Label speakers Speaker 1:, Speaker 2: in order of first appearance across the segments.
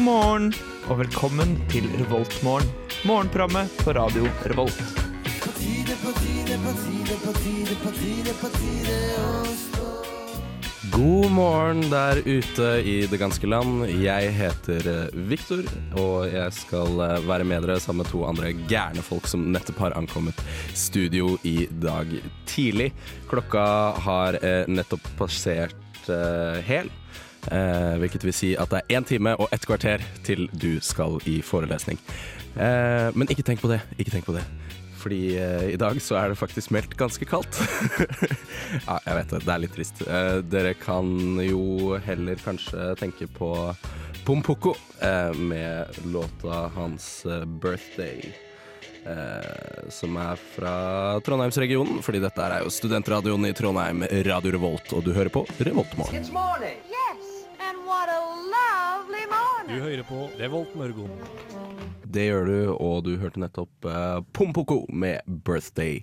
Speaker 1: morgen og velkommen til Revoltmorgen. Morgenprogrammet på radio Revolt.
Speaker 2: God morgen der ute i det ganske land. Jeg heter Viktor, og jeg skal eh, være med dere sammen med to andre gærne folk som nettopp har ankommet studio i dag tidlig. Klokka har eh, nettopp passert eh, hel, eh, hvilket vil si at det er én time og ett kvarter til du skal i forelesning. Eh, men ikke tenk på det, ikke tenk på det. Fordi eh, i dag så er det faktisk meldt ganske kaldt. Ja, jeg vet det. Det er litt trist. Eh, dere kan jo heller kanskje tenke på Pompoko eh, med låta hans eh, 'Birthday'. Eh, som er fra Trondheimsregionen, fordi dette er jo studentradioen i Trondheim, Radio Revolt, og du hører på Revoltmorgen.
Speaker 3: It's morning.
Speaker 4: Yes, and what a lovely morning.
Speaker 5: hører på Revolt Mørgon.
Speaker 2: Det gjør du, og du hørte nettopp eh, Pompoko med 'Birthday'.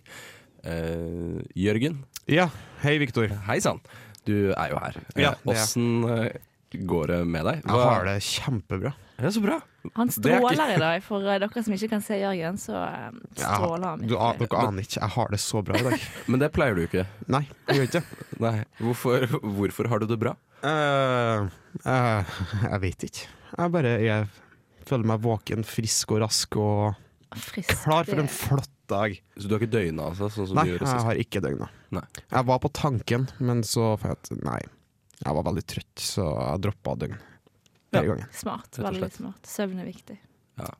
Speaker 2: Eh, Jørgen,
Speaker 1: Ja, hei Viktor. Jeg
Speaker 2: hei sann. Du er jo her.
Speaker 1: Ja,
Speaker 2: Eh,
Speaker 1: det er jeg.
Speaker 2: Åssen eh, går det med deg?
Speaker 1: har det kjempebra.
Speaker 2: Det er så bra.
Speaker 6: Han
Speaker 2: Det er ikke-
Speaker 6: stråler i dag. For eh, dere som ikke kan se Jørgen, så eh,
Speaker 1: Jeg har-
Speaker 6: stråler han.
Speaker 1: du, a-
Speaker 6: virkelig.
Speaker 1: dere aner ikke, jeg har det så bra i dag.
Speaker 2: Men det pleier du ikke.
Speaker 1: Nei, jeg gjør ikke det.
Speaker 2: Nei. Hvorfor, hvorfor har du det bra?
Speaker 1: Eh, eh, jeg vet ikke. Jeg bare jeg føler meg våken, frisk og rask og
Speaker 6: Frisk. eh,
Speaker 1: klar for en
Speaker 6: det-
Speaker 1: flott dag.
Speaker 2: Så du har ikke døgna, altså? Sånn som
Speaker 1: Nei,
Speaker 2: du
Speaker 1: jeg
Speaker 2: gjorde sist?
Speaker 1: har ikke døgna.
Speaker 2: Nei.
Speaker 1: Jeg var på tanken, men så fant jeg at nei, jeg var veldig trøtt, så jeg droppa døgn.
Speaker 2: Ja.
Speaker 1: Hele gangen.
Speaker 6: Smart.
Speaker 2: Rett og
Speaker 6: Veldig
Speaker 2: slett.
Speaker 6: smart. Søvn er viktig.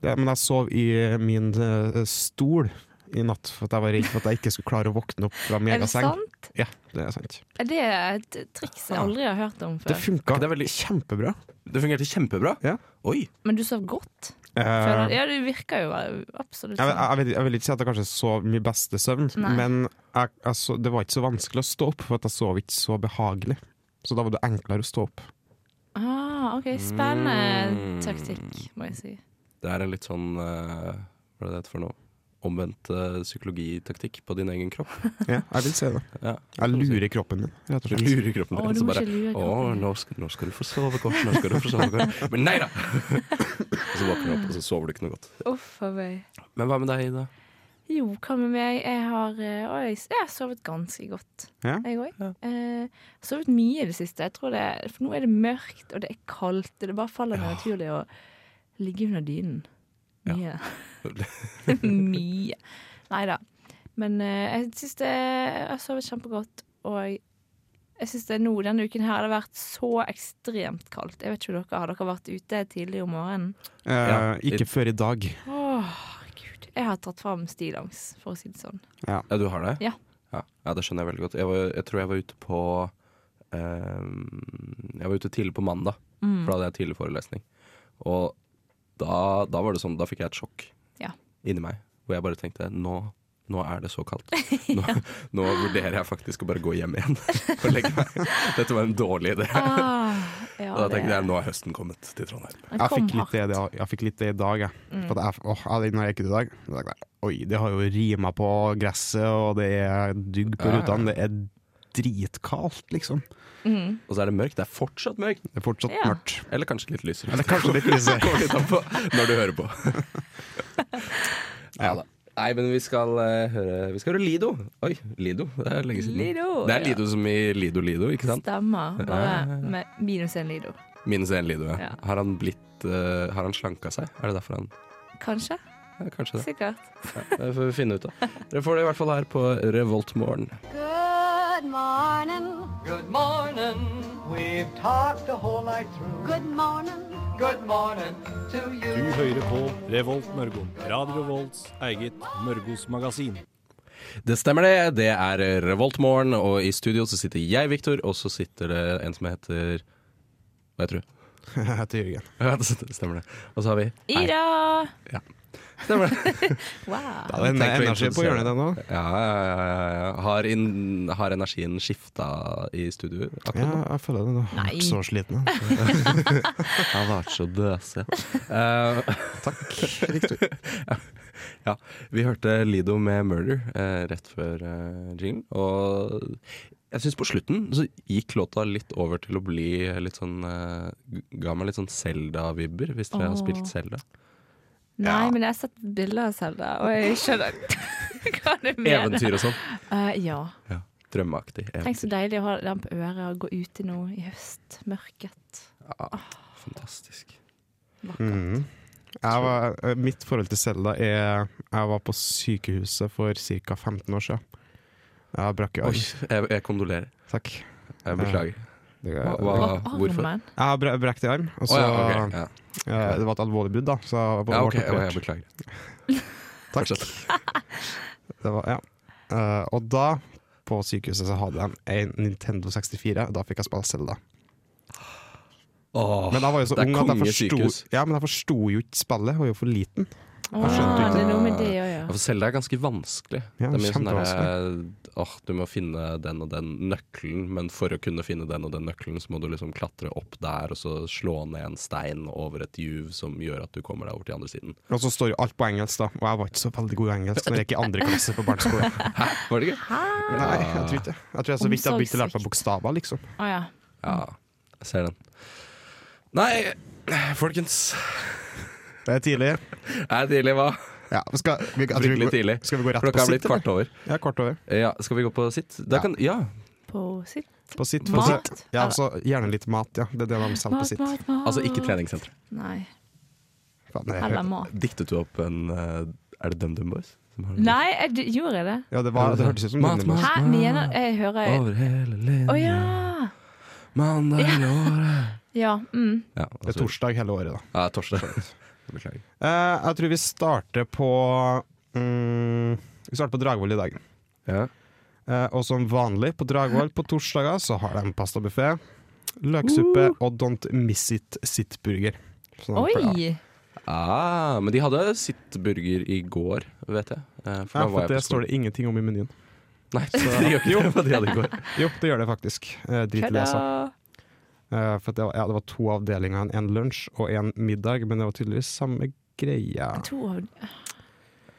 Speaker 1: Ja, men jeg sov i min eh, stol i natt, for at jeg var redd for at jeg ikke skulle klare å våkne opp fra min
Speaker 6: Er
Speaker 1: egen
Speaker 6: det
Speaker 1: seng.
Speaker 6: sant?
Speaker 1: Ja, det er sant.
Speaker 6: Er det et triks jeg aldri har hørt om
Speaker 1: Det
Speaker 6: før?
Speaker 1: funka
Speaker 2: Det er veldig-
Speaker 1: kjempebra.
Speaker 2: Det fungerte kjempebra.
Speaker 1: Ja.
Speaker 2: Oi!
Speaker 6: Men du sov godt?
Speaker 1: Eh,
Speaker 6: Føler- Ja, du virker jo eh, absolutt
Speaker 1: Jeg,
Speaker 6: sånn.
Speaker 1: jeg, vet, jeg vil ikke si at jeg kanskje sov min beste søvn,
Speaker 6: Nei.
Speaker 1: men jeg, jeg så, det var ikke så vanskelig å stå opp, for at jeg sov ikke så behagelig. Så da var det enklere å stå opp.
Speaker 6: Ah, OK, spennende
Speaker 2: Mm.
Speaker 6: taktikk, må jeg si.
Speaker 2: Det er en litt sånn eh, Hva er det det heter for noe? Omvendt eh, psykologitaktikk på din egen kropp.
Speaker 1: Ja, jeg vil si det.
Speaker 2: Ja.
Speaker 1: Jeg lurer kroppen min, rett og
Speaker 2: Du
Speaker 1: slett.
Speaker 2: lurer kroppen din.
Speaker 6: Å, du
Speaker 2: Mm. Så
Speaker 6: må
Speaker 2: bare
Speaker 6: ikke lure
Speaker 2: Å,
Speaker 6: kroppen.
Speaker 2: nå skal, nå skal du få sove godt. Nå skal du få sove godt. Men nei da! og så våkner du opp, og så sover du ikke noe godt.
Speaker 6: Uff a meg.
Speaker 2: Men hva med deg, Ida?
Speaker 6: Jo, hva med meg? Jeg har, eh, oi, jeg har sovet ganske godt,
Speaker 1: Ja.
Speaker 6: jeg òg. Eh, sovet mye i det siste. Jeg tror det, for nå er det mørkt, og det er kaldt. og Det bare faller meg naturlig å ligge under dynen. Mye. mye. Nei da. Men eh, jeg syns det Jeg har sovet kjempegodt, og jeg syns det nå denne uken her har det vært så ekstremt kaldt. Jeg vet ikke om dere har dere vært ute tidlig om morgenen?
Speaker 1: Eh,
Speaker 2: Ja.
Speaker 1: ikke før i dag.
Speaker 6: Åh, gud. Jeg har tatt fram stillongs, for å si det sånn.
Speaker 2: Ja, du har det?
Speaker 6: Ja.
Speaker 2: Ja, ja det skjønner jeg veldig godt. Jeg, var, jeg tror jeg var ute på eh, Jeg var ute tidlig på mandag,
Speaker 6: Mm.
Speaker 2: for da hadde jeg tidlig forelesning. Og da, da var det sånn, da fikk jeg et sjokk
Speaker 6: Ja.
Speaker 2: inni meg, hvor jeg bare tenkte nå, nå er det så kaldt. Nå, nå vurderer jeg faktisk å bare gå hjem igjen og legge meg. Dette var en dårlig idé.
Speaker 6: Ah, ja,
Speaker 2: Og da
Speaker 6: det-
Speaker 2: tenkte jeg nå er høsten kommet til Trondheim.
Speaker 6: det
Speaker 1: Jeg
Speaker 6: kom Mm.
Speaker 1: fikk litt det,
Speaker 6: hardt.
Speaker 1: jeg fikk litt det i dag, jeg. For at jeg, åh, jeg når jeg gikk ut i dag, da tenkte jeg, Oi, det har jo rima på gresset, og det er dugg på
Speaker 2: Ja, ja.
Speaker 1: rutene. Det er dritkaldt, liksom.
Speaker 2: Og så er det mørkt. Det er fortsatt mørkt.
Speaker 1: Det er fortsatt
Speaker 6: Ja.
Speaker 1: mørkt.
Speaker 2: Eller kanskje litt lysere.
Speaker 1: Eller kanskje litt lyse.
Speaker 2: Går litt an på når du hører på. ja da. Nei, men vi skal eh, høre Vi skal høre Lido. Oi, Lido. Det er lenge siden.
Speaker 6: Lido,
Speaker 2: det er
Speaker 6: ja.
Speaker 2: Lido som i Lido Lido, ikke sant?
Speaker 6: Stemmer.
Speaker 2: Ja, ja,
Speaker 6: Bare
Speaker 2: ja.
Speaker 6: med minus en Lido.
Speaker 2: Minus én Lido, ja.
Speaker 6: Ja.
Speaker 2: Har han blitt eh, Har han slanka seg? Er det derfor han
Speaker 6: Kanskje.
Speaker 2: ja, Kanskje det.
Speaker 6: Sikkert.
Speaker 2: Ja, det får vi finne ut av. Dere får det i hvert fall her på Revoltmorgen.
Speaker 4: Good morning.
Speaker 3: Good morning. We've talked the whole night through.
Speaker 4: Good morning.
Speaker 3: Good morning to
Speaker 5: Du
Speaker 3: you.
Speaker 5: hører på Revolt Mørgon. Radio Revolts eget Mørgos magasin.
Speaker 2: Det stemmer det. Det er Revoltmorgen, og i studio så sitter jeg, Viktor, og så sitter det en som heter Hva heter du?
Speaker 1: Jeg heter Jørgen.
Speaker 2: Ja, det stemmer det. Og så har vi
Speaker 6: Ida!
Speaker 2: Stemmer det.
Speaker 6: Wow.
Speaker 1: Ja, det er en
Speaker 2: Tenk å
Speaker 1: energi på
Speaker 2: introdusere
Speaker 1: hjørnet, det nå.
Speaker 2: Ja, ja, ja, ja, ja. Har, in, har energien skifta i studio? akkurat
Speaker 1: Ja,
Speaker 2: nå?
Speaker 1: jeg føler det. nå. Jeg er
Speaker 6: Nei.
Speaker 1: ikke så sliten. jeg.
Speaker 2: Jeg har vært så døse. Eh,
Speaker 1: Takk, Victor.
Speaker 2: ja, vi hørte Lido med 'Murder' eh, rett før uh, jinglen, eh, og Jeg syns på slutten så gikk låta litt over til å bli litt sånn eh, Ga meg litt sånn Selda-vibber, hvis dere har
Speaker 6: Åh.
Speaker 2: spilt Selda.
Speaker 6: Nei, men jeg har sett bilder av Selda, og jeg skjønner hva du mener.
Speaker 2: Eventyr og sånn.
Speaker 6: Eh, ja.
Speaker 2: Ja. Drømmeaktig.
Speaker 6: Tenk så
Speaker 2: Eventyr.
Speaker 6: deilig å ha den på øret og gå ute nå i høstmørket.
Speaker 2: Ah, Fantastisk.
Speaker 1: Mhm. Jeg var, eh, mitt forhold til Selda er Jeg var på sykehuset for ca. 15 år siden. Jeg brakk jo
Speaker 2: Oi,
Speaker 1: arm.
Speaker 2: jeg, jeg kondolerer.
Speaker 1: Takk.
Speaker 2: Jeg beklager.
Speaker 1: Det,
Speaker 2: Hva, hva,
Speaker 6: Bak
Speaker 2: hvorfor?
Speaker 6: armen.
Speaker 1: Jeg har bra- brekt i arm, og
Speaker 2: Å
Speaker 1: så
Speaker 2: ja, ok, ja.
Speaker 1: eh, Det var et alvorlig brudd, da. Så jeg var
Speaker 2: ja, ok, ja,
Speaker 1: ble
Speaker 2: jeg
Speaker 1: operert.
Speaker 2: beklager.
Speaker 1: Takk.
Speaker 2: Fortsett.
Speaker 1: Det var, ja. Eh, og da, på sykehuset, så hadde de en Nintendo 64. Da fikk jeg spille Selda.
Speaker 2: Åh,
Speaker 1: Men jeg var jo så
Speaker 2: det er
Speaker 1: ung at jeg
Speaker 2: kongesykehus.
Speaker 1: forsto, ja, men jeg forsto jo ikke spillet. Jeg var jo for liten.
Speaker 6: Åh,
Speaker 1: skjønte
Speaker 6: det
Speaker 1: ikke.
Speaker 6: er noe med det å
Speaker 2: Ja,
Speaker 6: gjøre.
Speaker 2: for Selda er ganske vanskelig. det
Speaker 1: Ja,
Speaker 2: er mye sånn
Speaker 1: kjempevanskelig.
Speaker 2: derre Åh, du må finne den og den nøkkelen, men for å kunne finne den og den nøkkelen, så må du liksom klatre opp der og så slå ned en stein over et juv som gjør at du kommer deg over til andre siden.
Speaker 1: Og så står jo alt på engelsk, da. Og jeg var ikke så veldig god i engelsk når jeg gikk i andre klasse på barneskole.
Speaker 2: Hæ, var det gøy?
Speaker 1: Nei, jeg tror ikke det. Jeg tror jeg så vidt jeg begynte å lære meg
Speaker 6: Omsorgssvikt.
Speaker 1: bokstaver, liksom.
Speaker 6: Å ja.
Speaker 2: Ja, jeg ser den. Nei, folkens.
Speaker 1: Det er tidlig.
Speaker 2: Det er tidlig, hva?
Speaker 1: Ja, skal, vi, jeg tror vi
Speaker 2: Fryktelig
Speaker 1: går-
Speaker 2: tidlig.
Speaker 1: Skal vi gå rett
Speaker 2: Klokka
Speaker 1: på
Speaker 2: er
Speaker 1: sitt?
Speaker 2: blitt kvart over.
Speaker 1: eller? Ja, kvart over.
Speaker 2: Ja, skal vi gå på sitt? Da
Speaker 1: Ja.
Speaker 2: kan, ja.
Speaker 6: På sitt.
Speaker 1: På sitt. for å se-
Speaker 6: Mat.
Speaker 1: Ja, så gjerne litt mat, ja. Det er det de selger på
Speaker 6: Mat,
Speaker 1: sitt.
Speaker 6: mat, mat.
Speaker 2: Altså ikke treningssenter.
Speaker 6: Nei.
Speaker 1: Faen, det er-
Speaker 6: Eller mat.
Speaker 2: Diktet du opp en eh, Er det DumDum Boys? som har den?
Speaker 6: Nei, jeg, d- gjorde jeg det?
Speaker 1: Ja, det, var, det hørtes ut som
Speaker 2: Mat,
Speaker 1: Dynamo.
Speaker 2: mat.
Speaker 6: Hæ, mener Jeg hører Å
Speaker 2: Over hele linja,
Speaker 6: ja!
Speaker 2: mandag i året
Speaker 6: Ja. Mm.
Speaker 2: ja, altså,
Speaker 1: Det er torsdag hele året, da.
Speaker 2: Ja, torsdag. Beklager.
Speaker 1: Eh, jeg tror vi starter på mm, Vi starter på Dragvoll i dag.
Speaker 2: Ja.
Speaker 1: Eh, og som vanlig på Dragvoll på torsdager så har de pastabuffé, løksuppe og Don't Miss It sitt-burger. Så de pleier-
Speaker 6: Oi!
Speaker 2: Ah, men de hadde sitt burger i går, vet jeg. Eh,
Speaker 1: Ja, for det står
Speaker 2: skolen.
Speaker 1: det ingenting om i menyen.
Speaker 2: Nei, de gjør ikke det, for de hadde i går.
Speaker 1: Jo, det gjør det faktisk. Eh, drit i det, altså.
Speaker 6: Kødda!
Speaker 1: Eh, for at det var, ja, det var to avdelinger, en lunsj og en middag, men det var tydeligvis samme greia.
Speaker 6: To av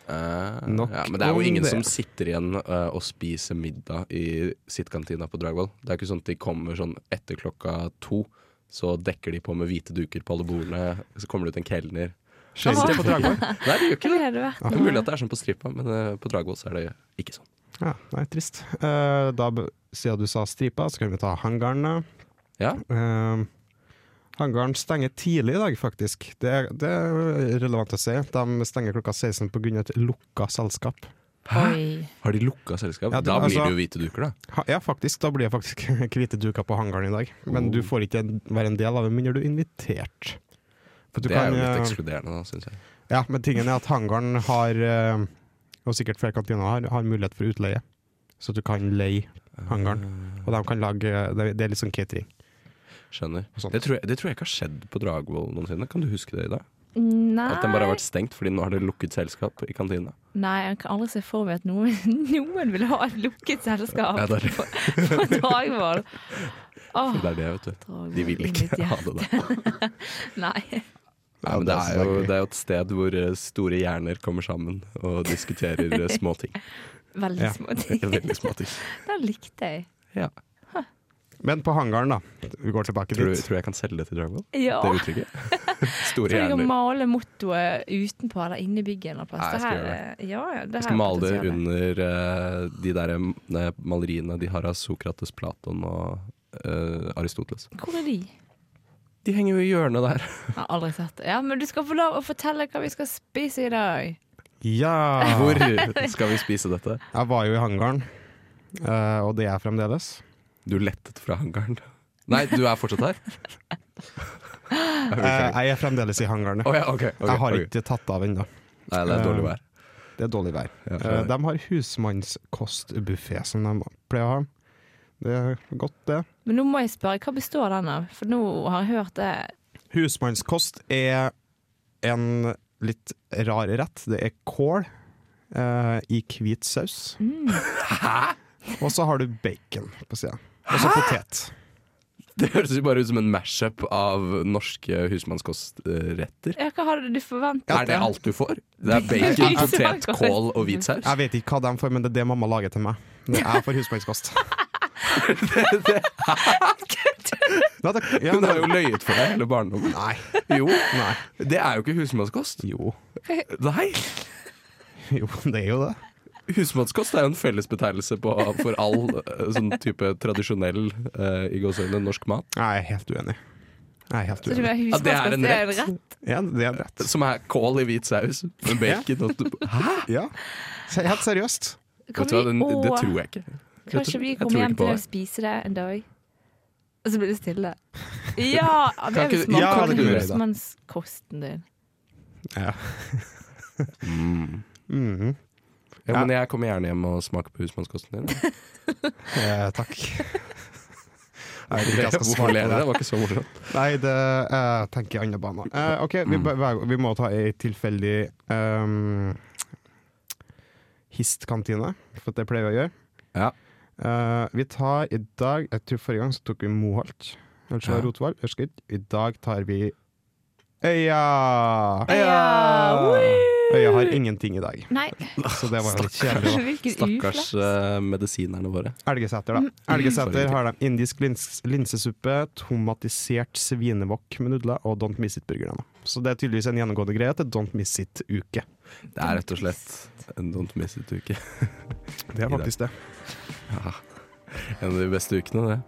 Speaker 2: Eh,
Speaker 1: Nok
Speaker 2: ja, men det er
Speaker 1: om
Speaker 2: jo ingen
Speaker 1: det.
Speaker 2: som sitter igjen eh, og spiser middag i sittkantina på Dragvoll. Det er ikke sånn at de kommer sånn etter klokka to. Så dekker de på med hvite duker på alle bordene. Så kommer det ut en kelner.
Speaker 1: Skjer ikke det på Dragvoll?
Speaker 2: Nei, det gjør ikke
Speaker 6: Hvor
Speaker 2: det.
Speaker 6: har du vært?
Speaker 2: Det er mulig at det er sånn på stripa, men eh, på Dragvoll så er det ikke sånn.
Speaker 1: Ja, nei, trist. Eh, da, b- siden du sa stripa, så kan vi ta hangarene.
Speaker 2: Ja,
Speaker 1: Eh, hangaren stenger tidlig i dag, faktisk. Det er, det er relevant å si. De stenger klokka 16 pga. et lukka selskap.
Speaker 6: Oi.
Speaker 2: Har de lukka selskap?
Speaker 1: Ja, det-
Speaker 2: da blir
Speaker 1: altså-
Speaker 2: det jo hvite duker, da.
Speaker 1: Ha, ja, faktisk. Da blir det faktisk hvite duker på hangaren i dag.
Speaker 2: Oh.
Speaker 1: Men du får ikke en- være en del av det, men du er invitert. For du
Speaker 2: det er
Speaker 1: kan,
Speaker 2: jo litt
Speaker 1: eh,
Speaker 2: ekskluderende, da, syns jeg.
Speaker 1: Ja, men tingen er at hangaren har, eh, og sikkert flere kantiner har, har mulighet for utleie. Så du kan leie hangaren. Og de kan lage, det det er litt sånn catering.
Speaker 2: Skjønner.
Speaker 1: og sånt.
Speaker 2: Det tror, jeg, det tror jeg ikke har skjedd på Dragvoll noensinne. Kan du huske det i dag?
Speaker 6: Nei.
Speaker 2: At den bare har vært stengt fordi nå har det lukket selskap i kantina.
Speaker 6: Nei, jeg kan aldri se for meg at noen, noen vil ha et lukket selskap
Speaker 2: Ja, det er det.
Speaker 6: på, på Dragvoll. Åh,
Speaker 2: Det er det, vet du.
Speaker 6: Dragvoll
Speaker 2: De vil
Speaker 6: i mitt
Speaker 2: ikke ha det der.
Speaker 6: hjerte. Nei.
Speaker 2: Nei, men det er, jo, det er jo et sted hvor eh, store hjerner kommer sammen og diskuterer eh, små ting.
Speaker 6: Veldig
Speaker 1: Ja.
Speaker 6: små ting.
Speaker 2: Veldig små ting.
Speaker 6: Den likte jeg.
Speaker 2: Ja.
Speaker 1: Men på hangaren, da. Vi går tilbake
Speaker 2: Tror, du,
Speaker 1: dit.
Speaker 2: tror du jeg kan selge det til Dragvoll?
Speaker 6: Ja.
Speaker 2: Det uttrykket? Store
Speaker 6: Så jeg kan
Speaker 2: hjerner.
Speaker 6: male mottoet utenpå eller inni bygget en
Speaker 2: Nei,
Speaker 6: eller plass.
Speaker 2: jeg
Speaker 6: Det
Speaker 2: skal
Speaker 6: her, ja, ja,
Speaker 2: Jeg
Speaker 6: det her
Speaker 2: skal
Speaker 6: er
Speaker 2: male det
Speaker 6: potensialet.
Speaker 2: under eh, de der eh, maleriene de har av Sokrates, Platon og eh, Aristoteles.
Speaker 6: Hvor er de?
Speaker 2: De henger jo i hjørnet der.
Speaker 6: Jeg har aldri sett det. Ja, men du skal få lov å fortelle hva vi skal spise i dag.
Speaker 1: Ja!
Speaker 2: Hvor skal vi spise dette?
Speaker 1: Jeg var jo i hangaren, eh, og det er jeg fremdeles.
Speaker 2: Du lettet fra hangaren. Nei, du er fortsatt her?
Speaker 1: Eh, jeg er fremdeles i hangaren.
Speaker 2: Å ja, ok. ok,
Speaker 1: jeg har
Speaker 2: ok.
Speaker 1: ikke Eh. tatt av ennå.
Speaker 2: Nei, det er dårlig vær.
Speaker 1: Det er dårlig vær.
Speaker 2: Ja,
Speaker 1: Eh, de har husmannskostbuffé, som de pleier å ha. Det er godt, det.
Speaker 6: Men nå må jeg spørre, hva består den av? For nå har jeg hørt det.
Speaker 1: Husmannskost er en litt rar rett. Det er kål eh, i hvit saus.
Speaker 2: Mm.
Speaker 1: Og så har du bacon på sida. Og så potet.
Speaker 2: Det høres jo bare ut som en mash-up av norske husmannskostretter.
Speaker 6: Ja, hva hadde du forventet?
Speaker 2: Er det alt du får? Det er bacon,
Speaker 6: Husmannskost.
Speaker 2: potet, kål og hvit saus?
Speaker 1: Jeg vet ikke hva de får, men det er det mamma lager til meg. Når jeg får husmannskost. Nei, det, ja,
Speaker 2: Hun
Speaker 1: det,
Speaker 2: har jo løyet for deg hele barndommen.
Speaker 1: nei.
Speaker 2: Jo,
Speaker 1: Nei.
Speaker 2: det er jo ikke husmannskost.
Speaker 1: Jo.
Speaker 2: Nei,
Speaker 1: Jo, det er jo det.
Speaker 2: husmannskost er jo en fellesbetegnelse på, for all eh, sånn type tradisjonell eh, i gåseøynene norsk mat.
Speaker 1: Nei, jeg er helt uenig. Jeg er helt
Speaker 6: Så det
Speaker 1: uenig.
Speaker 2: Ja, det
Speaker 6: var
Speaker 2: er en
Speaker 6: husmannskost, det er en rett.
Speaker 1: Ja, det er rett.
Speaker 2: Som er kål i hvit saus med bacon og Hæ?
Speaker 1: Ja. Se- Helt seriøst.
Speaker 6: Kan
Speaker 2: Vet du hva,
Speaker 6: vi-
Speaker 2: den, det
Speaker 6: Åh,
Speaker 2: tror jeg ikke. Jeg
Speaker 6: Kanskje
Speaker 2: tror-
Speaker 6: vi
Speaker 2: jeg
Speaker 6: kommer
Speaker 2: tror
Speaker 6: hjem
Speaker 2: ikke på
Speaker 6: til å
Speaker 2: det.
Speaker 6: spise det en dag? Og så blir det stille. Ja! Det
Speaker 2: Kan
Speaker 6: er jo
Speaker 2: ikke-
Speaker 1: ja,
Speaker 6: smak
Speaker 1: det
Speaker 6: på
Speaker 1: kunne vi da.
Speaker 6: husmannskosten din.
Speaker 1: Ja. Mhm.
Speaker 2: Ja, men jeg kommer gjerne hjem og smaker på husmannskosten din.
Speaker 1: Eh, takk. Jeg vet ikke hva jeg skal
Speaker 2: Hvorfor
Speaker 1: svare
Speaker 2: ler
Speaker 1: på
Speaker 2: dere?
Speaker 1: det.
Speaker 2: Det var ikke så morsomt.
Speaker 1: Nei, det eh, tenker jeg andre baner. Eh, ok, vi, beveger- vi må ta ei tilfeldig um, histkantine, for det pleier vi å gjøre.
Speaker 2: Ja.
Speaker 1: Eh, vi tar i dag Jeg tror forrige gang så tok vi Moholt. Eller så var det
Speaker 2: Ja.
Speaker 1: Rotevoll. Husker ikke. I dag tar vi Øya! Øya har ingenting i dag,
Speaker 6: Nei,
Speaker 1: så det var jo litt kjedelig. da.
Speaker 6: hvilken
Speaker 2: Stakkars
Speaker 6: uflaks.
Speaker 2: eh, medisinerne våre.
Speaker 1: Elgeseter,
Speaker 6: Mm.
Speaker 1: da. Elgeseter
Speaker 2: Mm. Sorry.
Speaker 1: har de indisk lins linsesuppe, tomatisert svinewok med nudler og Don't Miss It-burgerne. Så det er tydeligvis en gjennomgående greie til Don't Miss It-uke.
Speaker 2: Det er rett og slett en don't miss it-uke.
Speaker 1: Det er
Speaker 2: faktisk
Speaker 1: det.
Speaker 2: En av de beste ukene, det.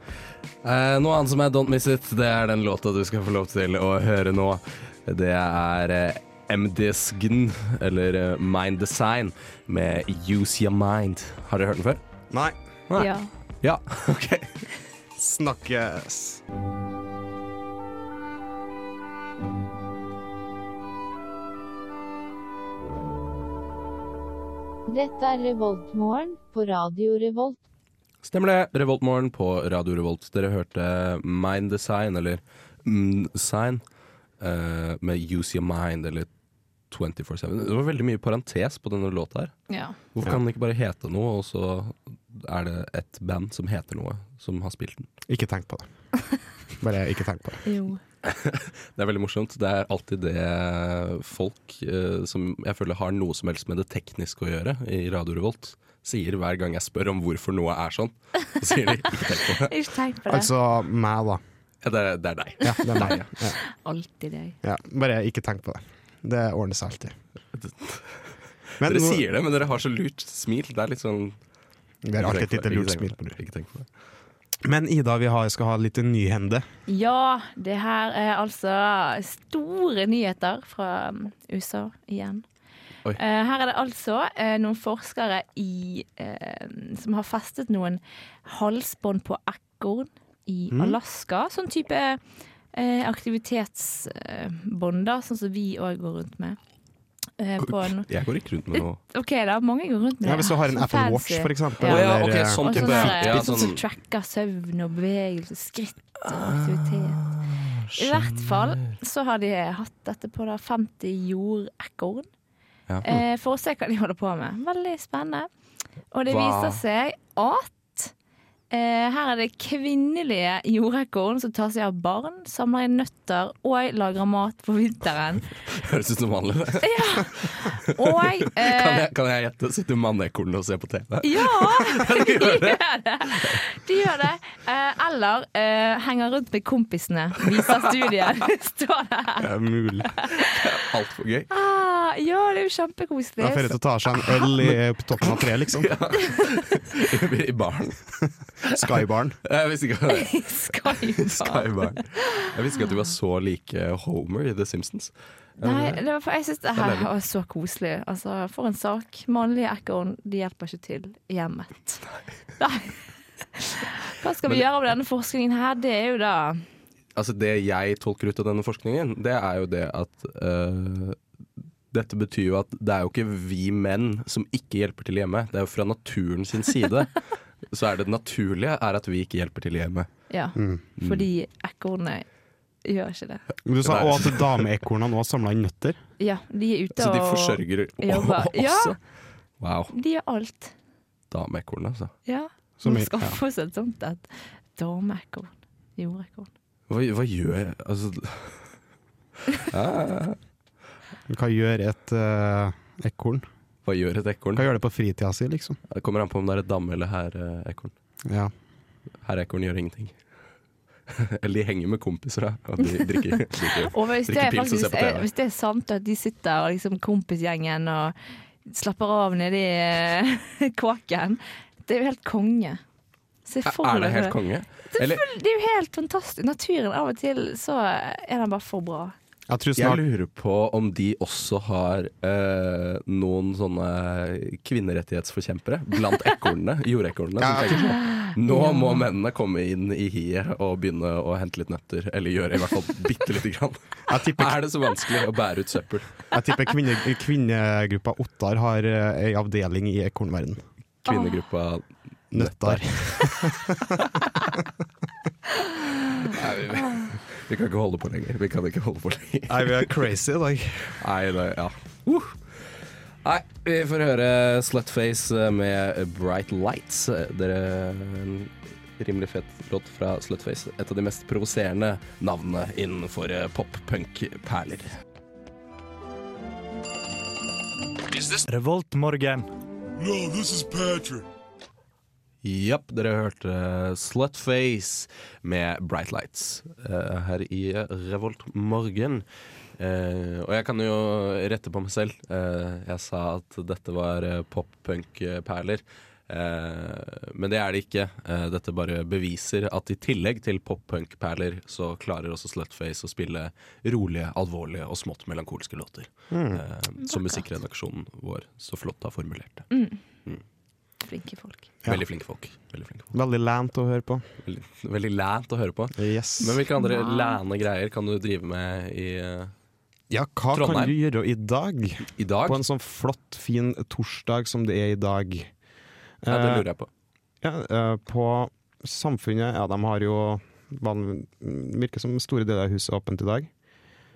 Speaker 2: Eh, noe annet som er Don't Miss It, det er den låta du skal få lov til å høre nå. Det er eh, MDSGN, eller eh, Mind Design, med Use Your Mind. Har dere hørt den før?
Speaker 1: Nei,
Speaker 2: eh,
Speaker 6: Ja.
Speaker 2: Ja, OK.
Speaker 1: snakkes.
Speaker 7: Dette er Revoltmorgen på Radio Revolt.
Speaker 2: Stemmer det. Revoltmorgen på Radio Revolt. Dere hørte Mind Design, eller M-Sign, eh, med Use Your Mind, eller 24-7. Det var veldig mye parentes på denne låta her.
Speaker 6: ja.
Speaker 2: Hvorfor kan den ikke bare hete noe, og så er det et band som heter noe, som har spilt den?
Speaker 1: Ikke tenk på det. Bare ikke tenk på det.
Speaker 6: Jo.
Speaker 2: Det er veldig morsomt. Det er alltid det folk eh, som jeg føler har noe som helst med det tekniske å gjøre i Radio Revolt, sier hver gang jeg spør om hvorfor noe er sånn. Så sier de ikke tenk på det.
Speaker 6: Ikke tenk på det.
Speaker 1: Altså meg, da.
Speaker 2: Ja, det, er- det er deg.
Speaker 1: Ja, det er meg. Ja.
Speaker 6: Alltid deg.
Speaker 1: Ja. Bare ikke tenk på det. Det ordner seg alltid. Men
Speaker 2: Dere
Speaker 1: nå-
Speaker 2: sier det, men dere har så lurt smil. Det er litt sånn
Speaker 1: Vi har alltid et lite lurt smil på
Speaker 2: det.
Speaker 1: lur.
Speaker 2: Ikke tenk på det.
Speaker 1: Men Ida, vi har, skal ha litt nyhende.
Speaker 6: Ja, det her er altså store nyheter fra mm, USA igjen.
Speaker 2: Oi.
Speaker 6: Eh, her er det altså eh, noen forskere i, eh, som har festet noen halsbånd på ekorn i
Speaker 1: Mm.
Speaker 6: Alaska. Sånn type eh, aktivitetsbånd, da, sånn som vi òg går rundt med. Eh, på en,
Speaker 2: Jeg går ikke rundt med noe
Speaker 6: OK, da. Mange går rundt med
Speaker 1: Ja, hvis du har en
Speaker 6: Sånn
Speaker 1: Apple Watch,
Speaker 6: fancy.
Speaker 1: for eksempel.
Speaker 6: Ja.
Speaker 2: Å ja,
Speaker 1: eller,
Speaker 2: ok,
Speaker 1: eh,
Speaker 2: sånn
Speaker 6: Og
Speaker 2: type.
Speaker 6: sånn, der,
Speaker 2: Ja,
Speaker 6: sånn som
Speaker 2: sånn-
Speaker 6: tracker søvn og bevegelse, skritt og aktivitet. I hvert fall så har de hatt dette på da 50 jordekorn.
Speaker 2: Ja.
Speaker 6: Eh, for å se hva de holder på med. Veldig spennende. Og det
Speaker 2: Hva?
Speaker 6: viser seg at eh, her er det kvinnelige jordekorn som tar seg av barn, samler inn nøtter og lager mat på vinteren.
Speaker 2: Høres ut som vanlig. det.
Speaker 6: Og
Speaker 2: Kan
Speaker 6: eh,
Speaker 2: jeg, kan jeg gjette? Sitter mannekornet og ser på TV?
Speaker 6: Ja, de gjør det. De gjør det. Eh, eller eh, henger rundt med kompisene, viser studiet. Står det her.
Speaker 1: Det er mulig.
Speaker 2: Altfor gøy.
Speaker 6: Ah, ja, det
Speaker 1: Da
Speaker 6: er jo
Speaker 1: får
Speaker 6: kjempekoselig.
Speaker 1: jeg til å ta seg en øl i, eh, på toppen av treet, liksom.
Speaker 2: I baren.
Speaker 1: Skybaren.
Speaker 2: Jeg visste ikke hva det
Speaker 6: Skype.
Speaker 2: Skybarn. Jeg visste ikke at du var så lik eh, Homer i The Simpsons.
Speaker 6: Nei, det var, jeg syns det her var så koselig. Altså, for en sak. Mannlige ekorn de hjelper ikke til i hjemmet. Nei. Hva skal vi gjøre med denne forskningen her? Det er jo da
Speaker 2: Altså Det jeg tolker ut av denne forskningen, det er jo det at eh, Dette betyr jo at det er jo ikke vi menn som ikke hjelper til hjemme. Det er jo fra naturen sin side. Så er det naturlige er at vi ikke hjelper til hjemme.
Speaker 6: Ja. Fordi ekornene gjør ikke det.
Speaker 1: Men Du sa også at dameekornene òg samla inn nøtter.
Speaker 6: Ja, de er ute
Speaker 2: Så de
Speaker 6: og
Speaker 2: forsørger
Speaker 6: jobber.
Speaker 2: også. Wow.
Speaker 6: De gjør alt.
Speaker 2: Dameekorn, altså.
Speaker 6: Ja.
Speaker 1: Som
Speaker 6: Man
Speaker 1: i-
Speaker 6: skal
Speaker 1: ja.
Speaker 6: få seg et sånt et dameekorn. Jordekorn.
Speaker 2: Hva, hva gjør jeg Altså
Speaker 1: Hva gjør et eh, ekorn?
Speaker 2: Hva gjør et ekorn?
Speaker 1: Hva gjør det på fritida si, liksom?
Speaker 2: Det kommer an på om det er et damme- eller herreekorn.
Speaker 1: Ja.
Speaker 2: Her er korn gjør ingenting. Eller de henger med kompiser, da. Og de drikker. drikker.
Speaker 6: Og hvis det,
Speaker 2: Drikke
Speaker 6: er
Speaker 2: pils og se
Speaker 6: faktisk,
Speaker 2: på TV.
Speaker 6: hvis det er sant at de sitter og liksom kompisgjengen og slapper av nedi eh, kåken Det er jo helt konge. Se for
Speaker 2: Er det
Speaker 6: deg
Speaker 2: helt konge? Eller
Speaker 6: Det er jo helt fantastisk. Naturen av og til så er den bare for bra.
Speaker 1: Jeg tror
Speaker 2: jeg
Speaker 1: snart
Speaker 2: lurer på om de også har eh, noen sånne kvinnerettighetsforkjempere blant ekornene, jordekornene. Som tenker sånn, Nå må mennene komme inn i hiet og begynne å hente litt nøtter. Eller gjøre i hvert fall bitte lite grann.
Speaker 1: Jeg tipper,
Speaker 2: Er det så vanskelig å bære ut søppel?
Speaker 1: jeg tipper kvinne, kvinnegruppa Ottar har eh, ei avdeling i ekornverden.
Speaker 2: Kvinnegruppa
Speaker 1: Nøttar.
Speaker 2: Vi kan ikke holde på lenger. Vi kan ikke holde på lenger.
Speaker 1: Nei, vi er crazy i dag.
Speaker 2: Nei, det, ja. Uh. Nei, vi får høre Slutface eh, med Bright Lights. Eh, Dere en Rimelig fet låt fra Slutface. Et av de mest provoserende navnene innenfor eh, pop-punk-perler.
Speaker 5: Revoltmorgen.
Speaker 2: Japp, dere hørte eh, Slutface med Bright Lights eh, her i Revolt Morgen. Eh, og jeg kan jo rette på meg selv. Eh, jeg sa at dette var eh, pop-punk-perler. Eh, men det er det ikke. Eh, dette bare beviser at i tillegg til pop-punk-perler, så klarer også Slutface å spille rolige, alvorlige og smått melankolske låter. Eh, som musikkredaksjonen vår så flott har formulert det.
Speaker 6: Flinke folk.
Speaker 2: Veldig flinke folk. Veldig flinke folk.
Speaker 1: Veldig lent å høre på.
Speaker 2: Veldig, veldig lænt å høre på.
Speaker 1: Yes.
Speaker 2: Men hvilke andre læne greier kan du drive med i, eh,
Speaker 1: ja, hva
Speaker 2: Trondheim.
Speaker 1: kan du gjøre i dag?
Speaker 2: i dag?
Speaker 1: På en sånn flott, fin torsdag som det er i dag.
Speaker 2: Ja, det lurer jeg på.
Speaker 1: Ja, eh, på Samfunnet, ja, de har jo van- Virker som store deler av huset er åpent i dag.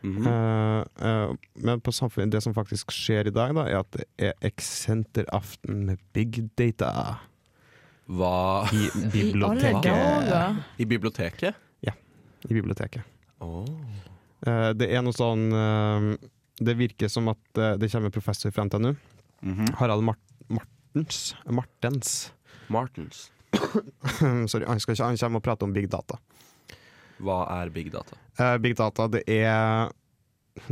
Speaker 6: Mm.
Speaker 2: Mhm.
Speaker 1: Eh, eh, men på Samfunnet, det som faktisk skjer i dag, da, er at det er eksenteraften med big data
Speaker 2: Hva
Speaker 1: i
Speaker 6: I alle
Speaker 1: biblioteket.
Speaker 6: dager.
Speaker 2: I biblioteket?
Speaker 1: I biblioteket.
Speaker 2: Åh
Speaker 1: Eh, det er noe sånn eh, Det virker som at eh, det kommer en professor fra NTNU.
Speaker 6: Mhm.
Speaker 1: Harald Mart Martens. Martens.
Speaker 2: Martens.
Speaker 1: Sorry, han, skal ikke, han kommer og prater om big data.
Speaker 2: Hva er big data?
Speaker 1: Eh, big data, det er